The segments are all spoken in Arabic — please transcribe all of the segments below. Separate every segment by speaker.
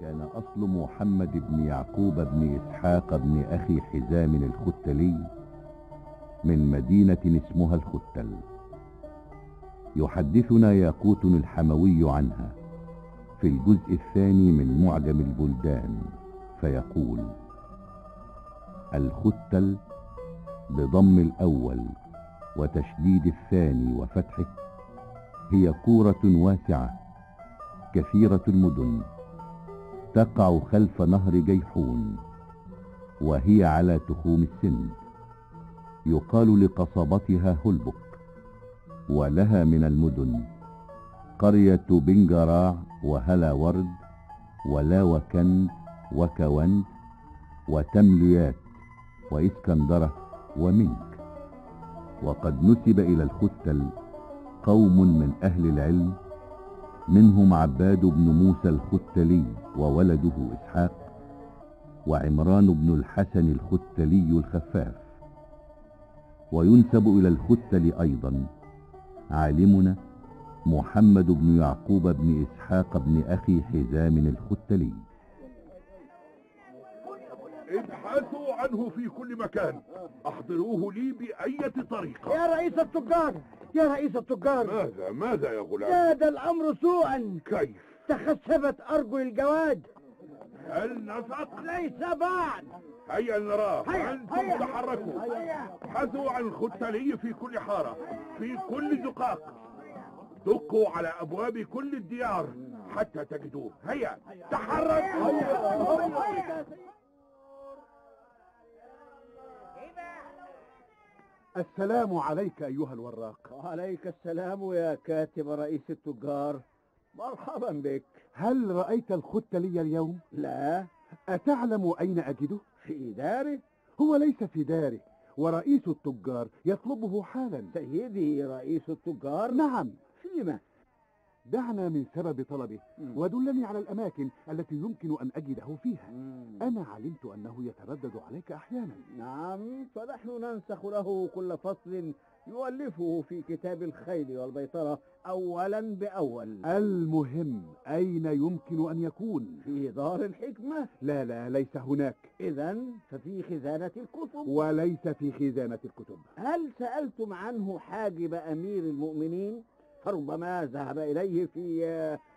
Speaker 1: كان أصل محمد بن يعقوب بن إسحاق بن أخي حزام الختلي من مدينة اسمها الختل يحدثنا ياقوت الحموي عنها في الجزء الثاني من معجم البلدان فيقول الختل بضم الأول وتشديد الثاني وفتحه هي كورة واسعة كثيرة المدن تقع خلف نهر جيحون وهي على تخوم السند يقال لقصبتها هلبك ولها من المدن قرية بنجراع وهلا ورد ولا وكند وكوند وتمليات وإسكندرة ومنك وقد نسب إلى الختل قوم من أهل العلم منهم عباد بن موسى الختلي وولده إسحاق وعمران بن الحسن الختلي الخفاف وينسب إلى الختل أيضا عالمنا محمد بن يعقوب بن إسحاق بن أخي حزام الختلي
Speaker 2: ابحثوا عنه في كل مكان احضروه لي بأية طريقة
Speaker 3: يا رئيس التجار يا رئيس التجار
Speaker 2: ماذا ماذا يا غلام
Speaker 3: زاد الأمر سوءا
Speaker 2: كيف
Speaker 3: تخشبت أرجل الجواد
Speaker 2: هل نفق
Speaker 3: ليس بعد
Speaker 2: هيا نراه
Speaker 3: هيا،
Speaker 2: انتم
Speaker 3: هيا.
Speaker 2: تحركوا
Speaker 3: هيا.
Speaker 2: ابحثوا عن الختلي في كل حارة في كل زقاق دقوا على ابواب كل الديار حتى تجدوه هيا تحركوا
Speaker 3: السلام عليك أيها الوراق وعليك السلام يا كاتب رئيس التجار مرحبا بك هل رأيت الختلي اليوم؟ لا أتعلم أين أجده؟ في داره هو ليس في داره ورئيس التجار يطلبه حالا سيدي رئيس التجار نعم فيما؟ دعنا من سبب طلبه ودلني على الأماكن التي يمكن أن أجده فيها أنا علمت أنه يتردد عليك أحيانا نعم فنحن ننسخ له كل فصل يؤلفه في كتاب الخيل والبيطرة أولا بأول المهم أين يمكن أن يكون؟ في دار الحكمة لا لا ليس هناك إذا ففي خزانة الكتب وليس في خزانة الكتب هل سألتم عنه حاجب أمير المؤمنين؟ فربما ذهب إليه في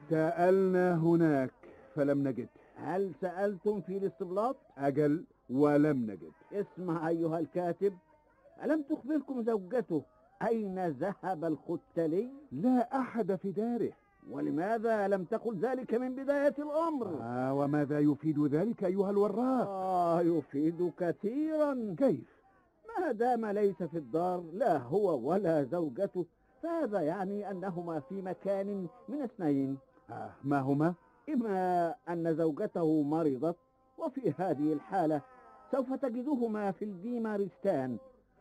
Speaker 3: سألنا هناك فلم نجد هل سألتم في الاستبلاط؟ أجل ولم نجد اسمع أيها الكاتب ألم تخبركم زوجته أين ذهب الختلي؟ لا أحد في داره ولماذا لم تقل ذلك من بداية الأمر؟ آه وماذا يفيد ذلك أيها الوراق؟ آه يفيد كثيرا كيف؟ ما دام ليس في الدار لا هو ولا زوجته فهذا يعني أنهما في مكان من اثنين آه ما هما؟ إما أن زوجته مرضت وفي هذه الحالة سوف تجدهما في الديمارستان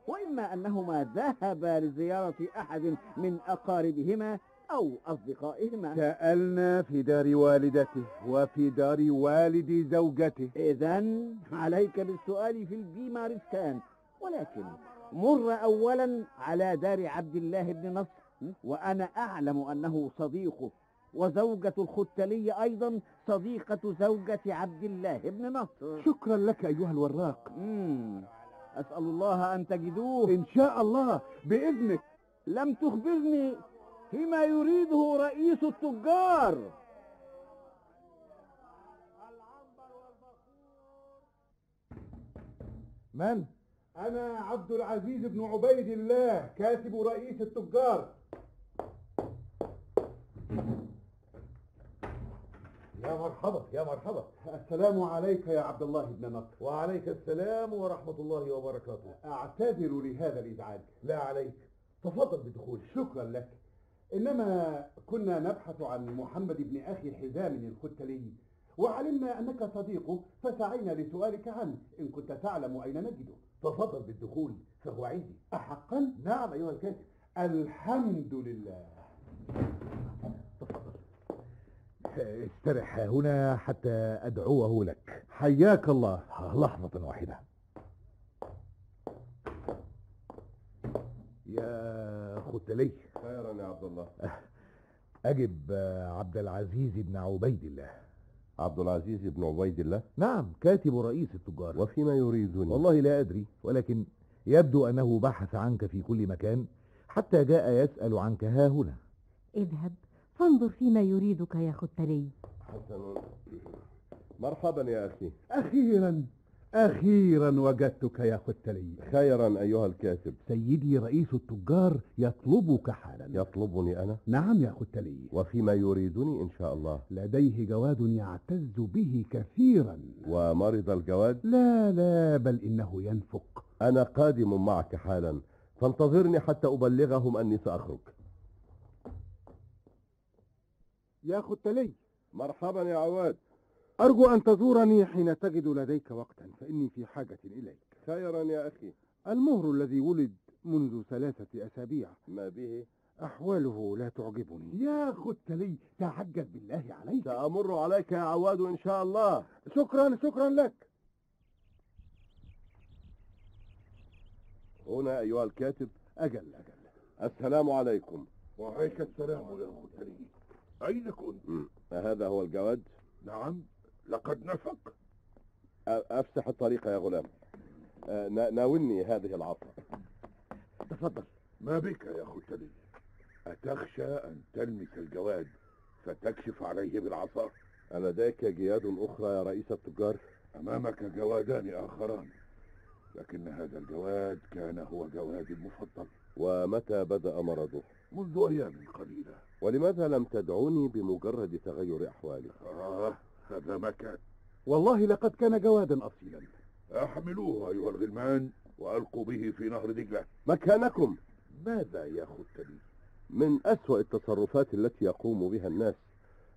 Speaker 3: وإما أنهما ذهبا لزيارة أحد من أقاربهما أو أصدقائهما سألنا في دار والدته وفي دار والد زوجته إذا عليك بالسؤال في الديمارستان ولكن مر أولا على دار عبد الله بن نصر وأنا أعلم أنه صديقه وزوجة الختلي أيضا صديقة زوجة عبد الله بن نصر شكرا لك أيها الوراق أسأل الله أن تجدوه إن شاء الله بإذنك لم تخبرني فيما يريده رئيس التجار من؟ أنا عبد العزيز بن عبيد الله كاتب رئيس التجار يا مرحبا يا مرحبا السلام عليك يا عبد الله بن نصر وعليك السلام ورحمة الله وبركاته أعتذر لهذا الإزعاج لا عليك تفضل بدخول شكرا لك إنما كنا نبحث عن محمد بن أخي حزام الختلي وعلمنا أنك صديقه فسعينا لسؤالك عنه إن كنت تعلم أين نجده تفضل بالدخول فهو عندي أحقا؟ نعم أيها الكاتب الحمد لله استرح هنا حتى أدعوه لك حياك الله لحظة واحدة يا ختلي
Speaker 4: أه،
Speaker 2: خيرا يا عبد الله
Speaker 4: آه،
Speaker 3: أجب عبد العزيز بن عبيد الله عبد العزيز بن عبيد الله
Speaker 4: نعم كاتب رئيس التجار
Speaker 3: وفيما يريدني
Speaker 4: والله لا أدري ولكن يبدو أنه بحث عنك في كل مكان حتى جاء يسأل عنك ها هنا
Speaker 5: اذهب فانظر فيما يريدك يا خدتلي
Speaker 3: حسن مرحبا يا أخي
Speaker 4: أخيرا أخيرا وجدتك يا خدتلي
Speaker 3: خيرا أيها الكاتب
Speaker 4: سيدي رئيس التجار يطلبك حالا
Speaker 3: يطلبني أنا
Speaker 4: نعم يا خدتلي
Speaker 3: وفيما يريدني إن شاء الله
Speaker 4: لديه جواد يعتز به كثيرا
Speaker 3: ومرض الجواد
Speaker 4: لا لا بل إنه ينفق
Speaker 3: أنا قادم معك حالا فانتظرني حتى أبلغهم أني سأخرج
Speaker 4: يا خدتلي
Speaker 3: مرحبا يا عواد
Speaker 4: أرجو أن تزورني حين تجد لديك وقتا فإني في حاجة إليك
Speaker 3: خيرا يا أخي
Speaker 4: المهر الذي ولد منذ ثلاثة أسابيع
Speaker 3: ما به
Speaker 4: أحواله لا تعجبني يا خدتلي تعجل بالله عليك
Speaker 3: سأمر عليك يا عواد إن شاء الله
Speaker 4: شكرا شكرا لك
Speaker 3: هنا أيها الكاتب
Speaker 4: أجل أجل
Speaker 3: السلام عليكم
Speaker 2: وعليك السلام يا خدتلي أين كنت؟
Speaker 3: هذا هو الجواد
Speaker 2: نعم لقد نفق
Speaker 3: أ- أفسح الطريق يا غلام آه، نا- ناولني هذه العصا
Speaker 4: تفضل
Speaker 2: ما بك يا خدتلي أتخشى أن تلمس الجواد فتكشف عليه بالعصا
Speaker 3: لديك جياد أخرى يا رئيس التجار
Speaker 2: أمامك جوادان آخران لكن هذا الجواد كان هو جوادي المفضل
Speaker 3: ومتى بدأ مرضه
Speaker 2: منذ أيام قليلة
Speaker 3: ولماذا لم تدعوني بمجرد تغير أحوالي
Speaker 2: آه هذا مكان
Speaker 4: والله لقد كان جوادا أصيلا
Speaker 2: أحملوه أيها الغلمان وألقوا به في نهر دجلة
Speaker 3: مكانكم
Speaker 2: ماذا يا خدتلي
Speaker 3: من أسوأ التصرفات التي يقوم بها الناس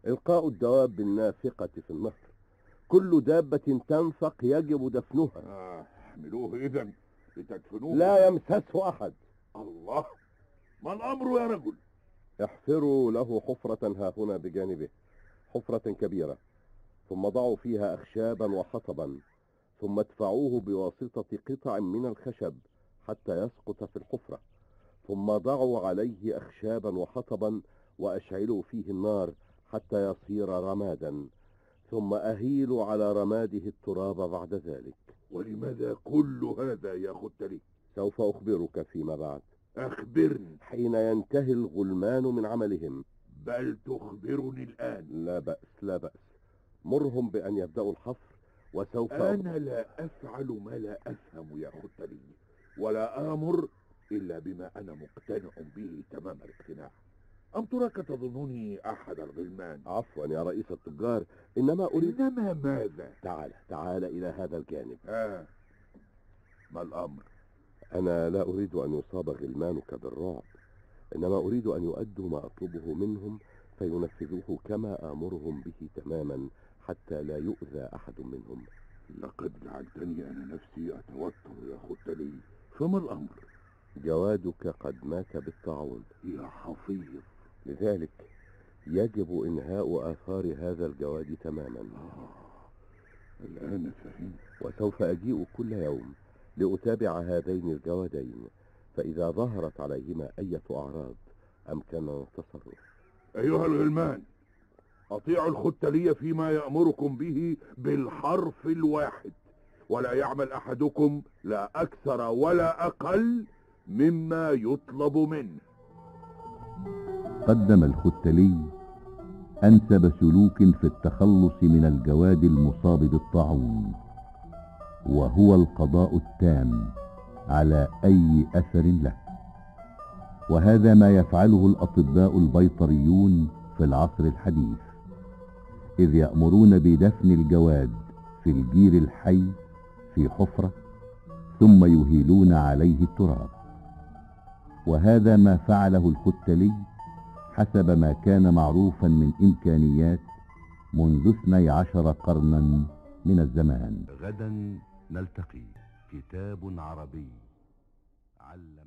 Speaker 3: إلقاء الدواب النافقة في النهر كل دابة تنفق يجب دفنها
Speaker 2: آه احملوه إذا لتدفنوه
Speaker 3: لا يمسسه أحد
Speaker 2: الله ما الأمر يا رجل
Speaker 3: احفروا له حفرة ها هنا بجانبه حفرة كبيرة ثم ضعوا فيها أخشابا وحطبا ثم ادفعوه بواسطة قطع من الخشب حتى يسقط في الحفرة ثم ضعوا عليه أخشابا وحطبا وأشعلوا فيه النار حتى يصير رمادا ثم أهيلوا على رماده التراب بعد ذلك
Speaker 2: ولماذا كل هذا يا خدتلي
Speaker 3: سوف أخبرك فيما بعد
Speaker 2: أخبرني
Speaker 3: حين ينتهي الغلمان من عملهم
Speaker 2: بل تخبرني الآن
Speaker 3: لا بأس لا بأس مرهم بأن يبدأوا الحفر وسوف
Speaker 2: أنا لا أفعل ما لا أفهم يا خدتلي ولا آمر إلا بما أنا مقتنع به تمام الاقتناع أم تراك تظنني أحد الغلمان
Speaker 3: عفوا يا رئيس التجار إنما أريد
Speaker 2: إنما ماذا؟
Speaker 3: تعال تعال إلى هذا الجانب
Speaker 2: ها ما الأمر؟
Speaker 3: أنا لا أريد أن يصاب غلمانك بالرعب إنما أريد أن يؤدوا ما أطلبه منهم فينفذوه كما آمرهم به تماما حتى لا يؤذى أحد منهم
Speaker 2: لقد جعلتني أنا نفسي أتوتر يا خدتلي فما الأمر؟
Speaker 3: جوادك قد مات بالطاعون
Speaker 2: يا حفيظ
Speaker 3: لذلك يجب إنهاء آثار هذا الجواد تماما
Speaker 2: آه الآن فهمت
Speaker 3: وسوف أجيء كل يوم لأتابع هذين الجوادين فإذا ظهرت عليهما أية أعراض أمكننا التصرف
Speaker 2: أيها الغلمان أطيعوا الخدتلي فيما يأمركم به بالحرف الواحد ولا يعمل أحدكم لا أكثر ولا أقل مما يطلب منه
Speaker 3: قدم الختلي أنسب سلوك في التخلص من الجواد المصاب بالطاعون وهو القضاء التام على أي أثر له وهذا ما يفعله الأطباء البيطريون في العصر الحديث إذ يأمرون بدفن الجواد في الجير الحي في حفرة ثم يهيلون عليه التراب وهذا ما فعله الختلي حسب ما كان معروفا من إمكانيات منذ اثني عشر قرنا من الزمان
Speaker 2: غدا نلتقي كتاب عربي علم